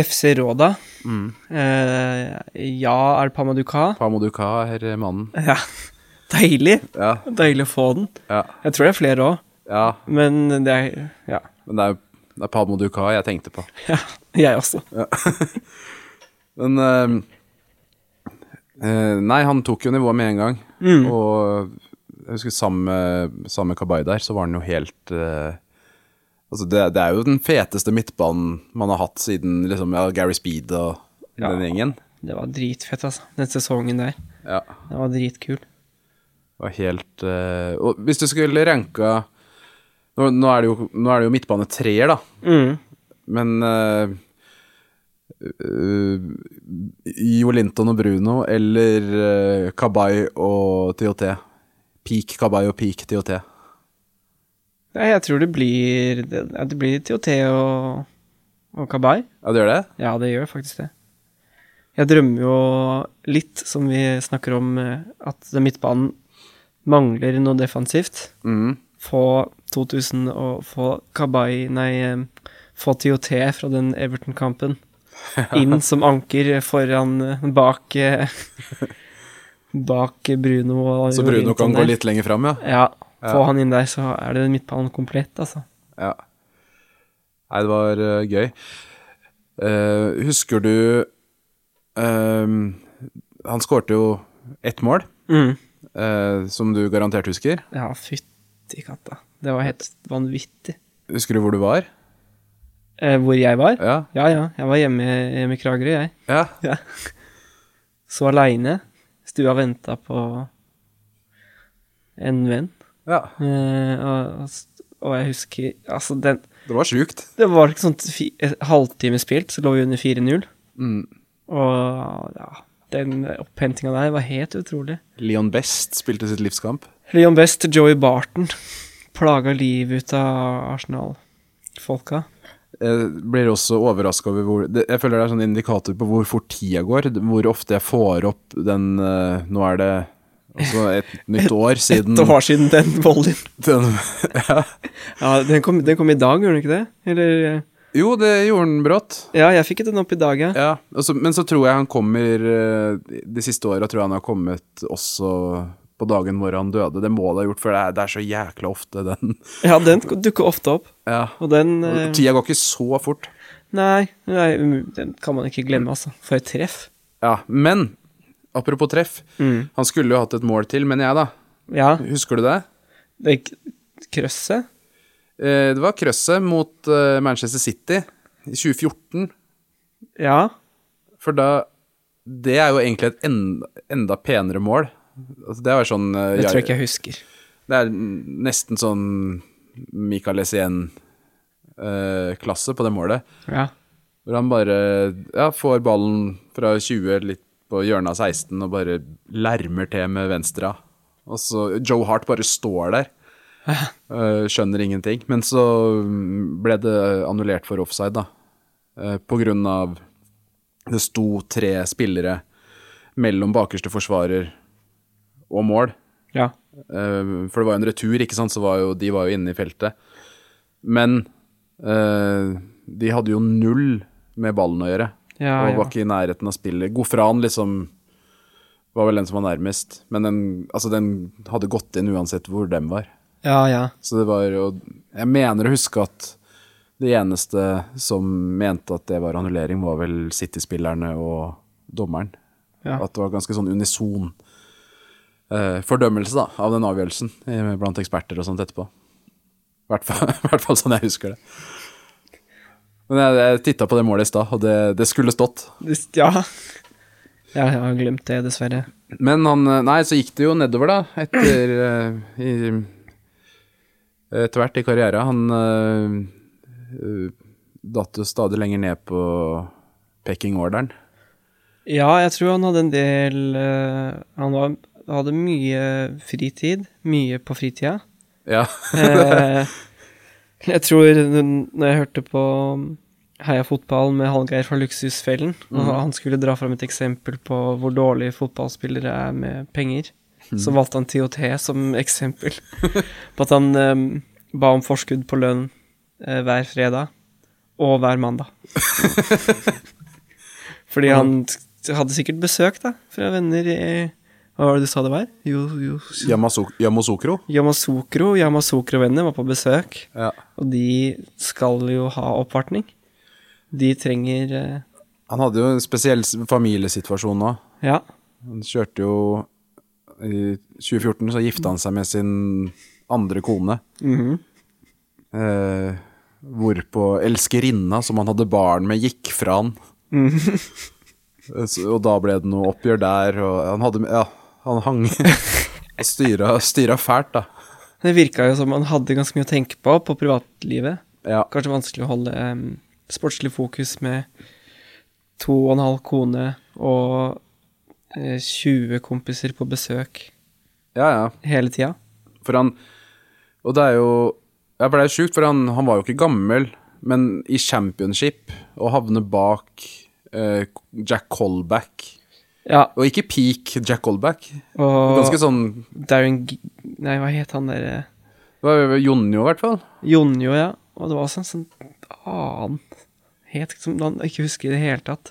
S1: FC Råda.
S2: Mm.
S1: Eh, ja, er det Pamaduka?
S2: Pamoduka er eh, mannen.
S1: Ja. Deilig.
S2: Ja,
S1: Deilig å få den.
S2: ja,
S1: Jeg tror det er flere òg,
S2: ja.
S1: men det er Ja.
S2: Men det er, det er Pamoduka jeg tenkte på.
S1: ja jeg også.
S2: Men eh, eh, Nei, han tok jo nivået med en gang. Og jeg husker sammen med- sammen med Kabay der, så var han jo helt eh, Altså, det, det er jo den feteste midtbanen man har hatt siden liksom, ja, Gary Speed og
S1: Ja.
S2: den gjengen.
S1: Det var dritfett, altså. Den sesongen der.
S2: Ja.
S1: Den var dritkul.
S2: Var helt eh, Og hvis du skulle ranka Nå, nå, er, det jo, nå er det jo midtbane treer, da.
S1: Mm.
S2: Men eh, eh, Jo Linton og Bruno eller eh, Kabay og TOT. Peak Kabay og peak TOT.
S1: Nei, jeg tror det blir Det, ja, det blir TOT og, og Kabay.
S2: Ja, det gjør det?
S1: Ja, det gjør faktisk det. Jeg drømmer jo litt, som vi snakker om, eh, at den midtbanen mangler noe defensivt.
S2: Mm.
S1: Få 2000 og få Kabay Nei, eh, få TOT fra den Everton-kampen inn som anker foran eh, bak eh, Bak Bruno og
S2: Så Bruno
S1: Jorinton
S2: kan gå
S1: der.
S2: litt lenger fram, ja?
S1: Ja, få han inn der, så er det midtbanen komplett, altså.
S2: ja. Nei, det var eh, gøy. Eh, husker du eh, Han skårte jo ett mål,
S1: Mm.
S2: eh, som du garantert husker.
S1: Ja, fytti katta. Det var helt vanvittig.
S2: Husker du hvor du var?
S1: Eh, hvor jeg var?
S2: Ja.
S1: Ja, ja. Jeg var hjemme, hjemme i Kragerø, jeg.
S2: ja.
S1: Ja. Så aleine. Stua venta på en venn.
S2: ja.
S1: Eh, og, og s- og jeg husker Altså, den
S2: Det var sjukt.
S1: Det var ikke sånn fi, eh, halvtime spilt, så lå vi under 4-0.
S2: Mm.
S1: Og ja, den opphentinga der var helt utrolig.
S2: Leon Best spilte sitt livskamp.
S1: Leon Best til Joey Barton plaga livet ut av Arsenal-folka.
S2: Jeg blir også overraska over hvor det, Jeg føler det er sånn indikator på hvor fort tida går. Hvor ofte jeg får opp den eh, Nå er det altså et nytt år siden
S1: Ett år siden den volleyen.
S2: den, ja.
S1: Ja, den kom, den kom i dag, gjorde den ikke det? Eller eh,
S2: Jo, det gjorde han brått.
S1: Ja, jeg fikk den opp i dag, jeg.
S2: Ja, og så- men så tror jeg han kommer eh, De siste åra tror jeg han har kommet også på dagen hvor han døde. Det må det ha gjort, for det er, det er så jækla ofte den
S1: Ja, den dukker ofte opp.
S2: Ja.
S1: Og den eh,
S2: Tida går ikke så fort.
S1: Nei, nei, um, den kan man ikke glemme, altså. For et treff.
S2: Ja, men apropos treff.
S1: Mm.
S2: Han skulle jo hatt et mål til, mener jeg, da.
S1: Ja.
S2: Husker du det?
S1: Det k- krøsset.
S2: Eh, Det var krøsset mot eh, Manchester City i 2014.
S1: Ja.
S2: For da Det er jo egentlig et enda, enda penere mål. Altså, det er jo sånn eh,
S1: Det tror
S2: Jar-
S1: jeg ikke jeg husker.
S2: Det er nesten sånn Michael Essien-klasse på det målet.
S1: Ja.
S2: Hvor han bare ja, får ballen fra 20 litt på hjørnet av 16 og bare lærmer til med venstre. Og så Joe Hart bare står der. Eh, skjønner ingenting. Men så mm, ble det annullert for offside, da. Eh, på grunn av det sto tre spillere mellom bakerste forsvarer og mål.
S1: ja.
S2: Eh, For det var jo en retur, ikke sant, så var jo, de var jo inne i feltet. Men eh, de hadde jo null med ballen å gjøre.
S1: Ja,
S2: og
S1: ja.
S2: var ikke i nærheten av spillet. Gofran liksom var vel den som var nærmest. Men den, altså, den hadde gått inn uansett hvor dem var.
S1: Ja, ja.
S2: Så det var jo Jeg mener å huske at det eneste som mente at det var annullering, var vel City-spillerne og dommeren.
S1: Ja.
S2: At det var ganske sånn unison eh, fordømmelse da, av den avgjørelsen eh, blant eksperter og sånt etterpå. I hvert fall, i hvert fall sånn jeg husker det. Men jeg, jeg titta på det målet i stad, og det, det skulle stått.
S1: Det- ja. ja. Jeg har glemt det, dessverre.
S2: Men han eh, Nei, så gikk det jo nedover, da, etter eh, i, Etter hvert i karriera. Han eh, eh, datt jo stadig lenger ned på pecking-orderen.
S1: Ja, jeg tror han hadde en del eh, Han var, hadde mye fritid. Mye på fritida.
S2: Ja.
S1: Eh, jeg tror n- når jeg hørte på um, Heia fotball med Hallgeir fra Luksusfellen, og han skulle dra fram et eksempel på hvor dårlige fotballspillere er med penger, så valgte han TOT som eksempel på at han eh, ba om forskudd på lønn eh, hver fredag og hver mandag. Fordi han t- hadde sikkert besøk da, fra venner i Hva var det du sa det var? Jo, jo,
S2: Yamasu- Yamasukro.
S1: Yamasukro, Yamasukro-venner var på besøk,
S2: Ja.
S1: og de skal jo ha oppvartning. De trenger eh,
S2: Han hadde jo en spesiell s- familiesituasjon nå.
S1: Ja.
S2: Han kjørte jo I 2014 så gifta han seg med sin andre kone. eh, hvorpå elskerinna, som han hadde barn med, gikk fra han. Eh, så- og da ble det noe oppgjør der, og han hadde Ja, han hang og styra, styra fælt, da.
S1: Det virka jo som han hadde ganske mye å tenke på på privatlivet.
S2: Ja.
S1: Kanskje vanskelig å holde em, sportslig fokus med to og en halv kone og eh, 20 kompiser på besøk
S2: ja, ja.
S1: hele tida.
S2: For han Og det er jo ja, for det er sjukt, for han, han var jo ikke gammel, men i championship å havne bak eh, Jack Colback
S1: Ja,
S2: Og ikke peak Jack Colback.
S1: og
S2: Ganske sånn
S1: Darren G... Nei, hva het han eh? derre
S2: Det var Jonjo, i hvert fall.
S1: Jonjo, ja. Og det var også en sånn annen het som han ikke husker i det hele tatt.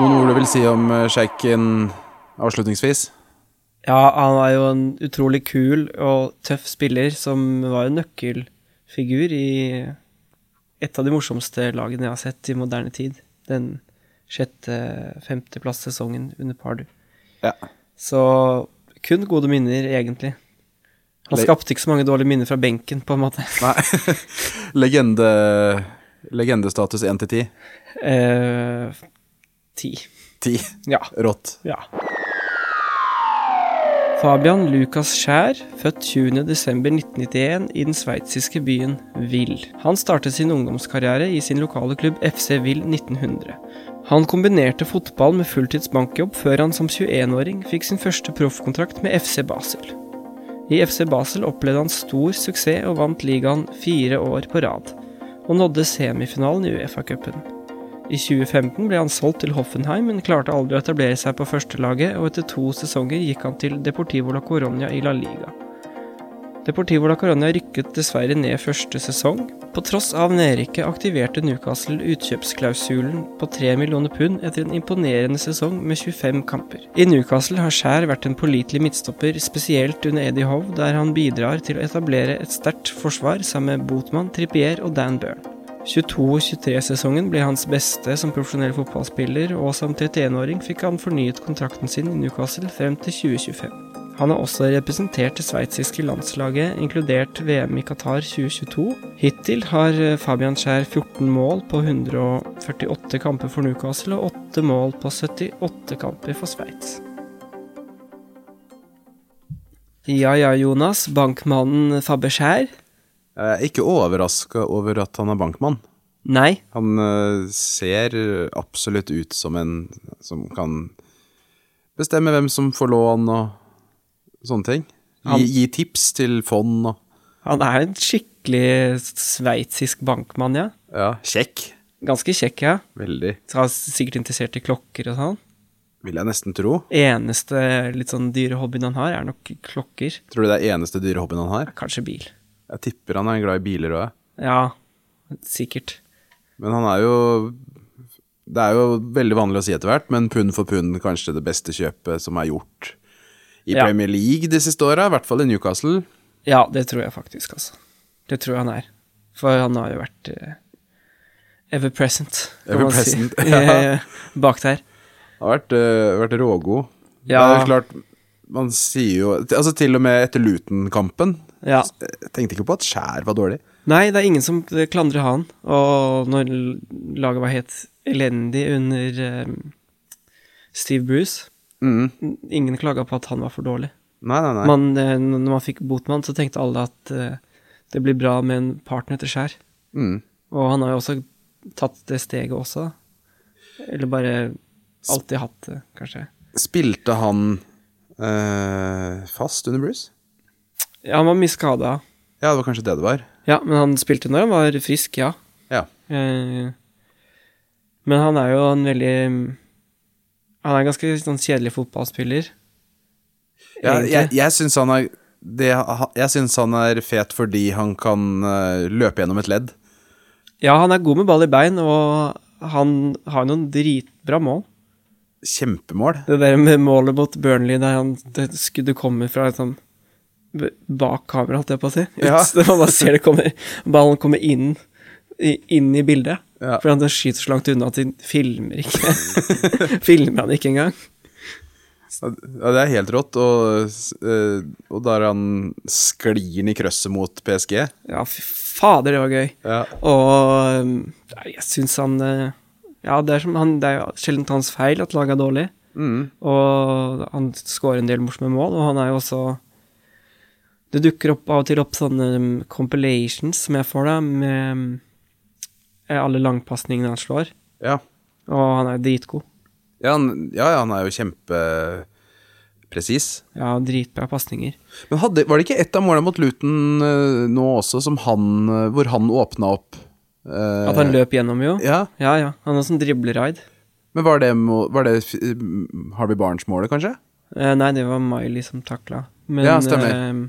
S2: Noen ord du vil si om eh, sjeiken avslutningsvis?
S1: Ja, han var jo en utrolig kul og tøff spiller som var en nøkkelfigur i et av de morsomste lagene jeg har sett i moderne tid. Den sjette-femteplass-sesongen under Pardu.
S2: Ja.
S1: Så kun gode minner, egentlig. Han
S2: Le-
S1: skapte ikke så mange dårlige minner fra benken, på en måte.
S2: Nei. Legende Legendestatus 1 til 10.
S1: Eh, Ti.
S2: 10.
S1: ja.
S2: Rått.
S1: Ja. Fabian Lukas Skjær, født 20.12.1991 i den sveitsiske byen Will. Han startet sin ungdomskarriere i sin lokale klubb FC Will 1900. Han kombinerte fotball med fulltids bankjobb før han som 21-åring fikk sin første proffkontrakt med FC Basel. I FC Basel opplevde han stor suksess og vant ligaen fire år på rad, og nådde semifinalen i Uefa-cupen. I 2015 ble han solgt til Hoffenheim, men klarte aldri å etablere seg på førstelaget, og etter to sesonger gikk han til Deportivo la Coronia i La Liga. Deportivo la Corona rykket dessverre ned første sesong. På tross av nedrykket aktiverte Newcastle utkjøpsklausulen på 3 millioner pund etter en imponerende sesong med 25 kamper. I Newcastle har Skjær vært en pålitelig midtstopper, spesielt under Eddie Hove, der han bidrar til å etablere et sterkt forsvar sammen med Botman, Trippier og Dan Byrne. 22-23-sesongen ble hans beste som profesjonell fotballspiller, og som 31-åring fikk han fornyet kontrakten sin i Newcastle frem til 2025. Han har også representert det sveitsiske landslaget, inkludert VM i Qatar 2022. Hittil har eh, Fabian Skjær 14 mål på 148 kamper for Newcastle og 8 mål på 78 kamper for Sveits. Ja ja, Jonas. Bankmannen Fabbe Skjær?
S2: Jeg er ikke overraska over at han er bankmann.
S1: Nei.
S2: Han eh, ser absolutt ut som en som kan bestemme hvem som får lån og sånne ting.
S1: Han-
S2: Gi, gi tips til fond og
S1: Han er en skikkelig sveitsisk bankmann, ja.
S2: Ja, kjekk.
S1: Ganske kjekk, ja.
S2: Veldig.
S1: Så han er sikkert interessert i klokker og sånn.
S2: Vil jeg nesten tro.
S1: Eneste litt sånn dyre hobbyen han har, er nok klokker.
S2: Tror du det er eneste dyre hobbyen han har?
S1: Kanskje bil.
S2: Jeg tipper han er glad i biler òg.
S1: Ja, sikkert.
S2: Men han er jo Det er jo veldig vanlig å si etter hvert, men pund for pund kanskje det beste kjøpet som er gjort i
S1: Ja.
S2: Premier League de siste åra, i hvert fall i Newcastle.
S1: Ja, det tror jeg faktisk, altså. Det tror jeg han er. For han har jo vært eh, ever present, kan
S2: Ever
S1: man
S2: present,
S1: si. Eh,
S2: ja.
S1: Bak der.
S2: Han har vært, øh, vært rågod. Det er
S1: Ja.
S2: jo klart Man sier jo Altså Til og med etter Luton-kampen
S1: Ja.
S2: Jeg tenkte ikke på at Skjær var dårlig.
S1: Nei, det er ingen som klandrer han. Og når l- laget var helt elendig under eh, Steve Bruce Ingen klaga på at han var for dårlig.
S2: Mm. Nei, nei, nei.
S1: Man, eh, når man fikk Botman, så tenkte alle at eh, det blir bra med en partner til Skjær.
S2: Mm.
S1: Og han har jo også tatt det steget også. Eller bare alltid hatt det, kanskje.
S2: Spilte han øh, fast under Bruce?
S1: Ja, han var mye skada.
S2: Ja, det var kanskje det det var.
S1: Ja, men han spilte når han var frisk, ja.
S2: Ja.
S1: Eh, Men han er jo en veldig Han er en ganske sånn kjedelig fotballspiller.
S2: Ja,
S1: egentlig.
S2: jeg jeg syns han er det, jeg syns han er fet fordi han kan øh, løpe gjennom et ledd.
S1: ja, han er god med ball i bein, og han har noen dritbra mål.
S2: Kjempemål.
S1: Det der med målet mot Burnley, der han, det skuddet kommer fra liksom b- bak kamera, holdt jeg på å si. Ut,
S2: Ja.
S1: så man bare ser det kommer, ballen kommer inn i, inn i bildet.
S2: Ja.
S1: For han skyter så langt unna at de filmer ikke. filmer han ikke engang.
S2: Ja, det er helt rått. Og, øh, og der han sklir den i krøsset mot PSG.
S1: Ja, fy fader, det var gøy.
S2: Ja.
S1: Og um, nei, jeg syns han eh, Ja, det er, som han, det er jo sjelden hans feil at laget er dårlig.
S2: Mm.
S1: Og han skårer en del morsomme mål, og han er jo også Det dukker opp av og til opp sånne um, compilations som jeg får, da, med um, eh, alle langpasningene han slår.
S2: Ja.
S1: Og han er dritgod.
S2: Ja, han, ja, ja, han er jo kjempepresis.
S1: Ja, dritbra pasninger.
S2: Men hadde, var det ikke ett av målene mot Luton øh, nå også som han, øh, hvor han åpna opp? øh,
S1: At han løp gjennom, jo.
S2: Ja,
S1: Ja, ja. Han er sånn dribleraid.
S2: Men var det, mo- var det f- øh, Harvey Barnes-målet, kanskje?
S1: Eh, nei, det var Miley som takla. Men
S2: Ja, stemmer.
S1: ehm,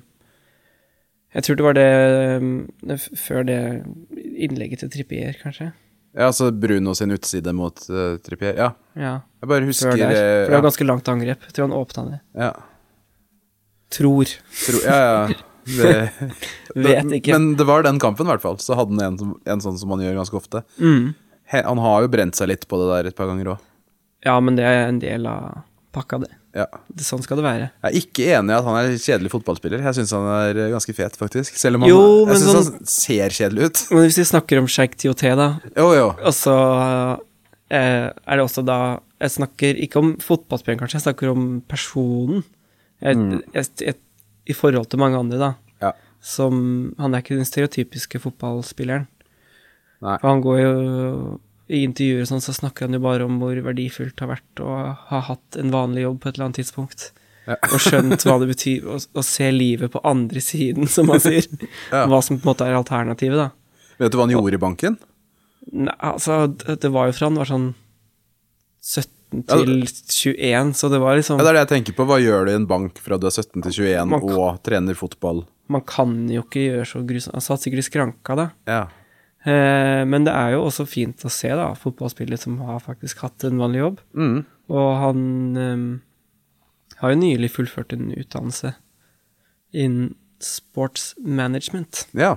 S1: jeg tror det var det ehm, det f- før det innlegget til Trippier, kanskje.
S2: Ja, altså Bruno sin utside mot øh, Trippier. Ja,
S1: Ja,
S2: jeg bare
S1: før
S2: husker
S1: der.
S2: øh,
S1: For det var ganske langt angrep. Jeg tror han åpna det.
S2: ja, ja,
S1: Tror.
S2: tro, ja, ja. Det,
S1: Vet ikke.
S2: Men det var den kampen, i hvert fall. Så hadde han en, som- en sånn som han gjør ganske ofte.
S1: mm.
S2: He, han har jo brent seg litt på det der et par ganger òg.
S1: Ja, men det er en del av pakka, det.
S2: Ja.
S1: det sånn skal det være.
S2: Jeg er ikke enig i at han er en kjedelig fotballspiller. Jeg syns han er eh, ganske fet, faktisk. Selv om han,
S1: Jo, men
S2: jeg synes
S1: sånn-
S2: han ser kjedelig ut.
S1: Men hvis vi snakker om Sheikh Tioté, da,
S2: Jo, jo.
S1: og så eh, er det også da Jeg snakker ikke om fotballspilleren, kanskje, jeg snakker om personen. Jeg, jeg, jeg, I forhold til mange andre, da.
S2: Mm. Ja.
S1: som Han er ikke den stereotypiske fotballspilleren.
S2: Nei.
S1: For han går jo I intervjuer og sånn så snakker han jo bare om hvor verdifullt det har vært å ha hatt en vanlig jobb på et eller annet tidspunkt.
S2: Ja.
S1: Og skjønt hva det betyr å, å se livet på andre siden, som han sier.
S2: Ja.
S1: Hva som på en måte er alternativet, da.
S2: Vet du hva han gjorde i banken?
S1: Nei, altså, det det var jo fra han var sånn 17
S2: Ja,
S1: til 21, så det var liksom
S2: Ja, det er det jeg tenker på. Hva gjør du i en bank fra du er 17 til 21
S1: Man kan-
S2: og trener fotball?
S1: man kan jo ikke gjøre så grusomt Han satt sikkert i skranka, da.
S2: Ja.
S1: Eh, men det er jo også fint å se da, fotballspillere som har faktisk hatt en vanlig jobb.
S2: Mm.
S1: Og han eh, har jo nylig fullført en utdannelse innen sports management,
S2: ja.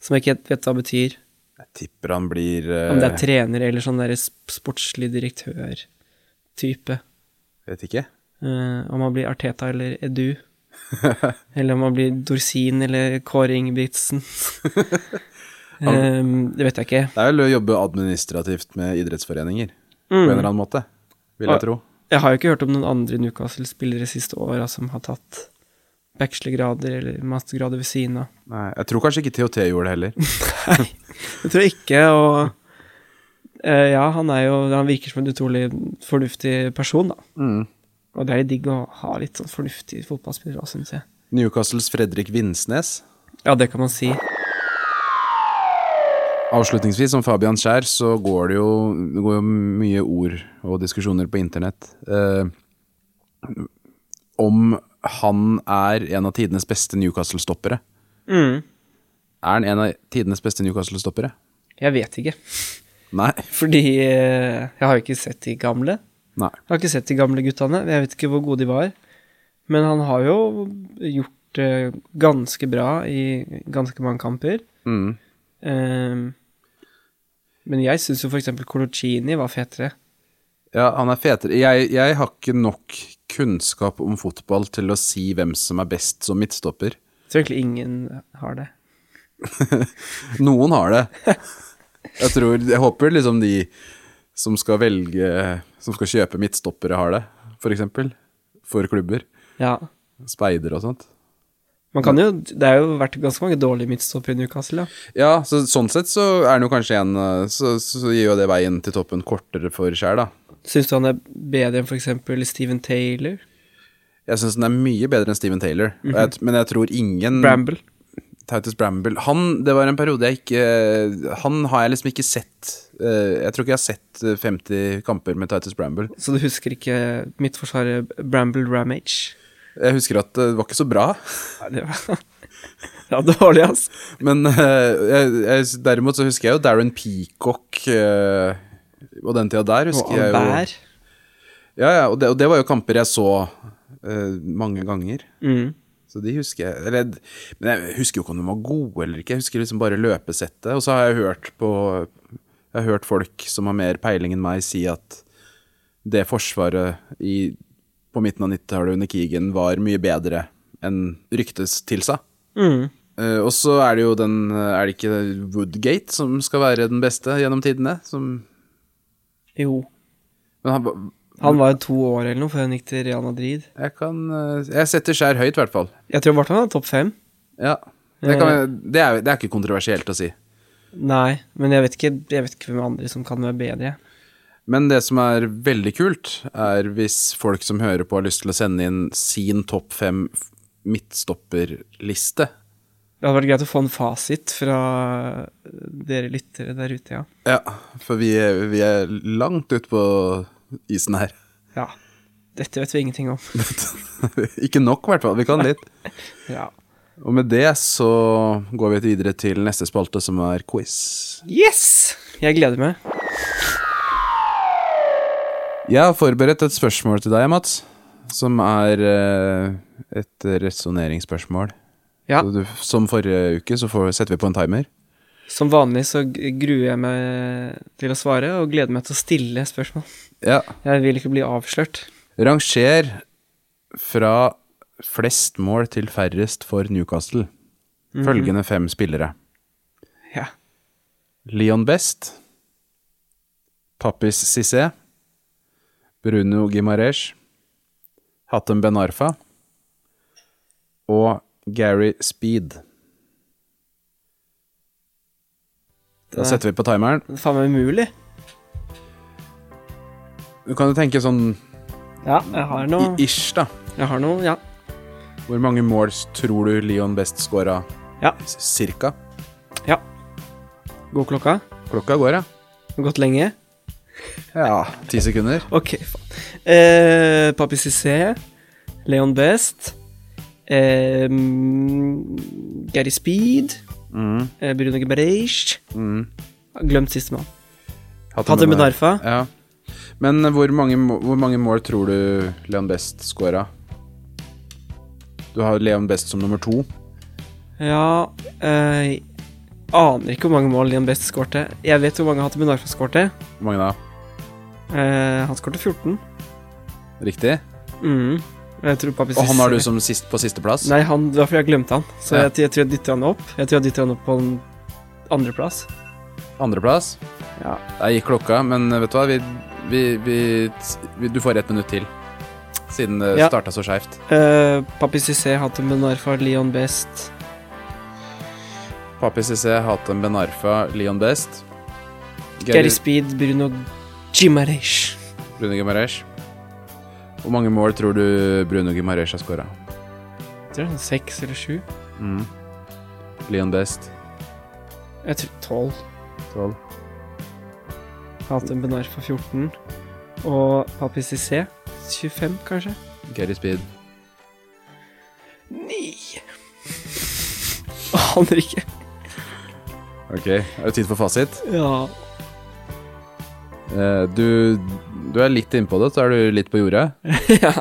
S1: som jeg ikke helt vet hva betyr.
S2: Jeg tipper han blir eh,
S1: Om det er trener eller sånn derre sp- sportslig direktør-type.
S2: Vet ikke.
S1: Eh, om han blir Arteta eller Edu. eller om han blir Dorsin eller Kåre Ingebrigtsen. Ehm, det vet jeg ikke.
S2: Det er vel å jobbe administrativt med idrettsforeninger på
S1: Mm.
S2: en eller annen måte, vil
S1: Ja.
S2: jeg tro.
S1: Jeg har jo ikke hørt om noen andre Newcastle-spillere siste åra som har tatt bachelorgrader eller mastergrader ved siden av.
S2: Nei, jeg tror kanskje ikke THT gjorde det heller.
S1: Nei, det tror jeg ikke. Og eh, ja, han er jo Han virker som en utrolig fornuftig person, da. Og det er litt digg å ha litt sånn fornuftige fotballspillere òg, syns jeg.
S2: Newcastles Fredrik Vinsnes.
S1: Ja, det kan man si.
S2: Avslutningsvis, som Fabian Skjær, så går det jo, det går jo mye ord og diskusjoner på internett eh, om han er en av tidenes beste Newcastle-stoppere.
S1: Mm.
S2: Er han en av tidenes beste Newcastle-stoppere?
S1: Jeg vet ikke.
S2: Nei.
S1: Fordi eh, jeg har jo ikke sett de gamle.
S2: Nei.
S1: Jeg har ikke sett de gamle guttene. Jeg vet ikke hvor gode de var. Men han har jo gjort det ganske bra i ganske mange kamper.
S2: Mm.
S1: Ehm, men jeg syns jo f.eks. Colocini var fetere.
S2: Ja, han er fetere. Jeg, jeg har ikke nok kunnskap om fotball til å si hvem som er best som midtstopper.
S1: Så egentlig ingen har det.
S2: Noen har det. Jeg tror, jeg håper liksom de som skal velge, som skal kjøpe midtstoppere har det, for eksempel. For klubber.
S1: Ja.
S2: Speider og sånt.
S1: Man kan jo, det har jo vært ganske mange dårlige midtstoppere i Newcastle, ja.
S2: Ja, så sånn sett så er det jo kanskje en eh, Så, så gir jo det veien til toppen kortere for Skjær, da.
S1: Syns du han er bedre enn f.eks. Steven Taylor?
S2: Jeg syns den er mye bedre enn Steven Taylor, Og jeg, men jeg tror ingen
S1: Bramble?
S2: Titus Bramble Han, det var en periode jeg ikke Han har jeg liksom ikke sett eh, Jeg tror ikke jeg har sett eh, 50 kamper med Titus Bramble.
S1: Så du husker ikke midtforsvaret Bramble Ramage?
S2: Jeg husker at det var ikke så bra.
S1: Nei, det var Ja, dårlig, altså.
S2: Men eh, jeg, jeg, derimot så husker jeg jo Darren Peacock eh, og den tida der
S1: Og
S2: husker jeg jo
S1: Albert.
S2: Ja, ja, og det, og det var jo kamper jeg så eh, mange ganger.
S1: Mm.
S2: Så de husker jeg eller, Men jeg husker jo ikke om de var gode eller ikke. Jeg husker liksom bare løpesettet. Og så har jeg hørt på Jeg har hørt folk som har mer peiling enn meg, si at det forsvaret i, på midten av 90-tallet under krigen var mye bedre enn ryktes tilsa.
S1: Mm.
S2: Eh, og så er det jo den eh, Er det ikke Woodgate som skal være den beste gjennom tidene? Som,
S1: Jo.
S2: men han,
S1: Han var jo to år eller noe før han gikk til Real Madrid.
S2: jeg kan eh, Jeg setter Skjær høyt, i hvert fall.
S1: Jeg tror i hvert fall han er topp fem.
S2: Ja. Det, kan, det, er, det er ikke kontroversielt å si.
S1: Nei, men jeg vet ikke, jeg vet ikke hvem andre som kan være bedre.
S2: Men det som er veldig kult, er hvis folk som hører på, har lyst til å sende inn sin topp fem f- midtstopperliste.
S1: Det hadde vært greit å få en fasit fra eh, dere lyttere der ute, ja.
S2: Ja, for vi er, vi er langt ute på isen her.
S1: ja. Dette vet vi ingenting om.
S2: ikke nok, i hvert fall. Vi kan litt.
S1: Ja.
S2: Og med det så går vi videre til neste spalte, som er quiz.
S1: Yes! Jeg gleder meg.
S2: Jeg har forberedt et spørsmål til deg, Mats, som er eh, et resonneringsspørsmål.
S1: Ja.
S2: Så du, som forrige uke, så får, setter vi på en timer.
S1: Som vanlig så g- gruer jeg meg til å svare, og gleder meg til å stille spørsmål.
S2: Ja.
S1: Jeg vil ikke bli avslørt.
S2: Ranger fra flest mål til færrest for Newcastle. Følgende fem spillere.
S1: Ja.
S2: Leon Best, Pappis Cissé, Bruno Gimares, Hatem Ben Arfa og Gary Speed. Da
S1: Det-
S2: setter vi på timeren.
S1: Det er faen meg umulig.
S2: Du kan jo tenke sånn
S1: Ja, jeg har noe
S2: i- ish, da.
S1: Jeg har noe, ja.
S2: Hvor mange mål tror du Leon Best scora?
S1: Ja.
S2: Cirka?
S1: ja. God klokka.
S2: Klokka går, ja.
S1: Det har gått lenge.
S2: Ja, ti sekunder.
S1: Ok, faen. Eh, Papi Cissé, Leon Best, eh, Gary Speed, eh, Bruno Gebreich Glemt sistemann. Hatem Benarfa.
S2: Ja. Men hvor mange, må- hvor mange mål tror du Leon Best scora? Du har Leon Best som nummer to.
S1: Ja eh, Aner ikke hvor mange mål Lian Best skårte. Jeg vet hvor mange Hatem Benarfa skårte.
S2: Hvor mange da?
S1: Eh, han skårte 14.
S2: Riktig?
S1: Mm. Jeg tror Papi
S2: Og han
S1: Sissé-
S2: har du som sist, på sisteplass?
S1: Nei, han, det var fordi jeg glemte han. Så
S2: Ja.
S1: jeg, jeg tror jeg dytter han opp. Jeg tror jeg dytter han opp på en andreplass.
S2: Andreplass?
S1: Ja.
S2: Der gikk klokka, men vet du hva? Vi, vi, vi, vi, du får ett minutt til. Siden det
S1: Ja.
S2: starta så skeivt.
S1: Eh, Papi Cissé, Hatem Benarfa, Leon Best
S2: Papi CC, Hatem Benarfa, Leon Best.
S1: Gary Speed, Bruno Gimareish.
S2: Bruno Gimaresh. Hvor mange mål tror du Bruno Gimaresh har skåra?
S1: Jeg tror det er seks eller sju.
S2: Mm. Leon Best?
S1: Jeg tror tolv.
S2: 12.
S1: Hatem Benarfa 14. Og Papi Cissé 25, kanskje?
S2: Gary Speed?
S1: Ni. Aner ikke.
S2: Ok, er det tid for fasit?
S1: Ja.
S2: Eh, du, du er litt innpå det, så er du litt på jordet.
S1: ja.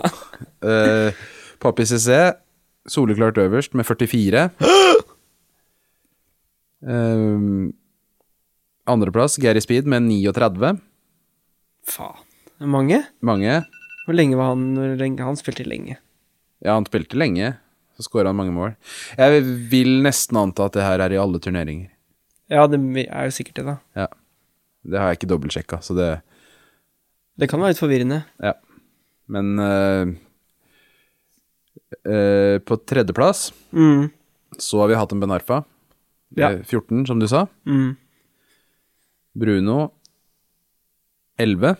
S2: Eh, Papi CC, soleklart øverst med 44. Eh, Andreplass, Gary Speed med 39.
S1: Faen. Det er Mange?
S2: Mange.
S1: Hvor lenge var han? Hvor lenge? Han spilte lenge.
S2: Ja, han spilte lenge, så skåra han mange mål. Jeg vil nesten anta at det her er i alle turneringer.
S1: Ja, det er jo sikkert det, da.
S2: Ja. Det har jeg ikke dobbeltsjekka, så det
S1: Det kan være litt forvirrende.
S2: Ja. Men eh, eh, på tredjeplass
S1: Mm.
S2: så har vi hatt en Benarfa.
S1: Ja.
S2: Eh, 14, som du sa.
S1: Mm.
S2: Bruno 11.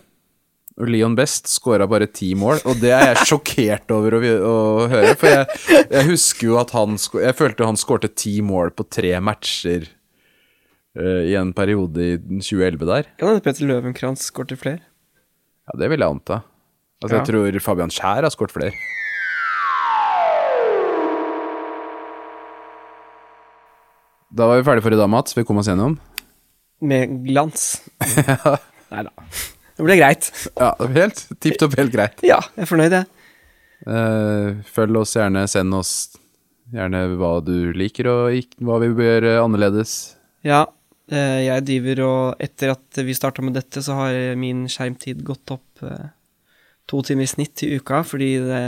S2: Og Leon Best skåra bare ti mål, og det er jeg sjokkert over å, å høre. For jeg, jeg husker jo at han sko- Jeg følte han skårte ti mål på tre matcher eh, i en periode i 2011 der.
S1: Kan hende Petter Løvenkrantz går til flere.
S2: Ja, det vil jeg anta. Altså,
S1: Ja.
S2: jeg tror Fabian Skjær har skåret flere. Da var vi ferdig for i dag, Mats. Vi kom oss gjennom.
S1: Med glans. Nei da. Det ble greit.
S2: Ja, helt tipp topp, helt greit.
S1: Ja, jeg er fornøyd, jeg.
S2: Eh, følg oss gjerne, send oss gjerne hva du liker og ikk- hva vi bør gjøre annerledes.
S1: Ja, eh, jeg driver og Etter at vi starta med dette, så har min skjermtid gått opp eh, to timer i snitt i uka, fordi det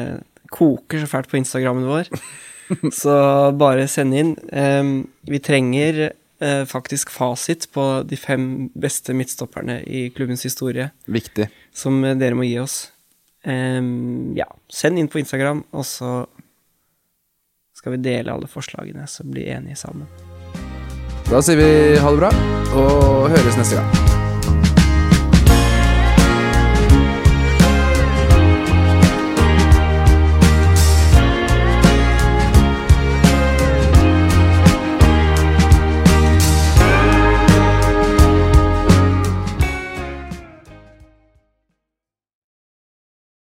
S1: koker så fælt på Instagrammen vår. Så bare send inn. Em, Vi trenger eh, faktisk fasit på de fem beste midtstopperne i klubbens historie.
S2: Viktig.
S1: som eh, dere må gi oss. Ehm, ja, send inn på Instagram, og så skal vi dele alle forslagene, så bli enige sammen.
S2: Da sier vi ha det bra, og høres neste gang.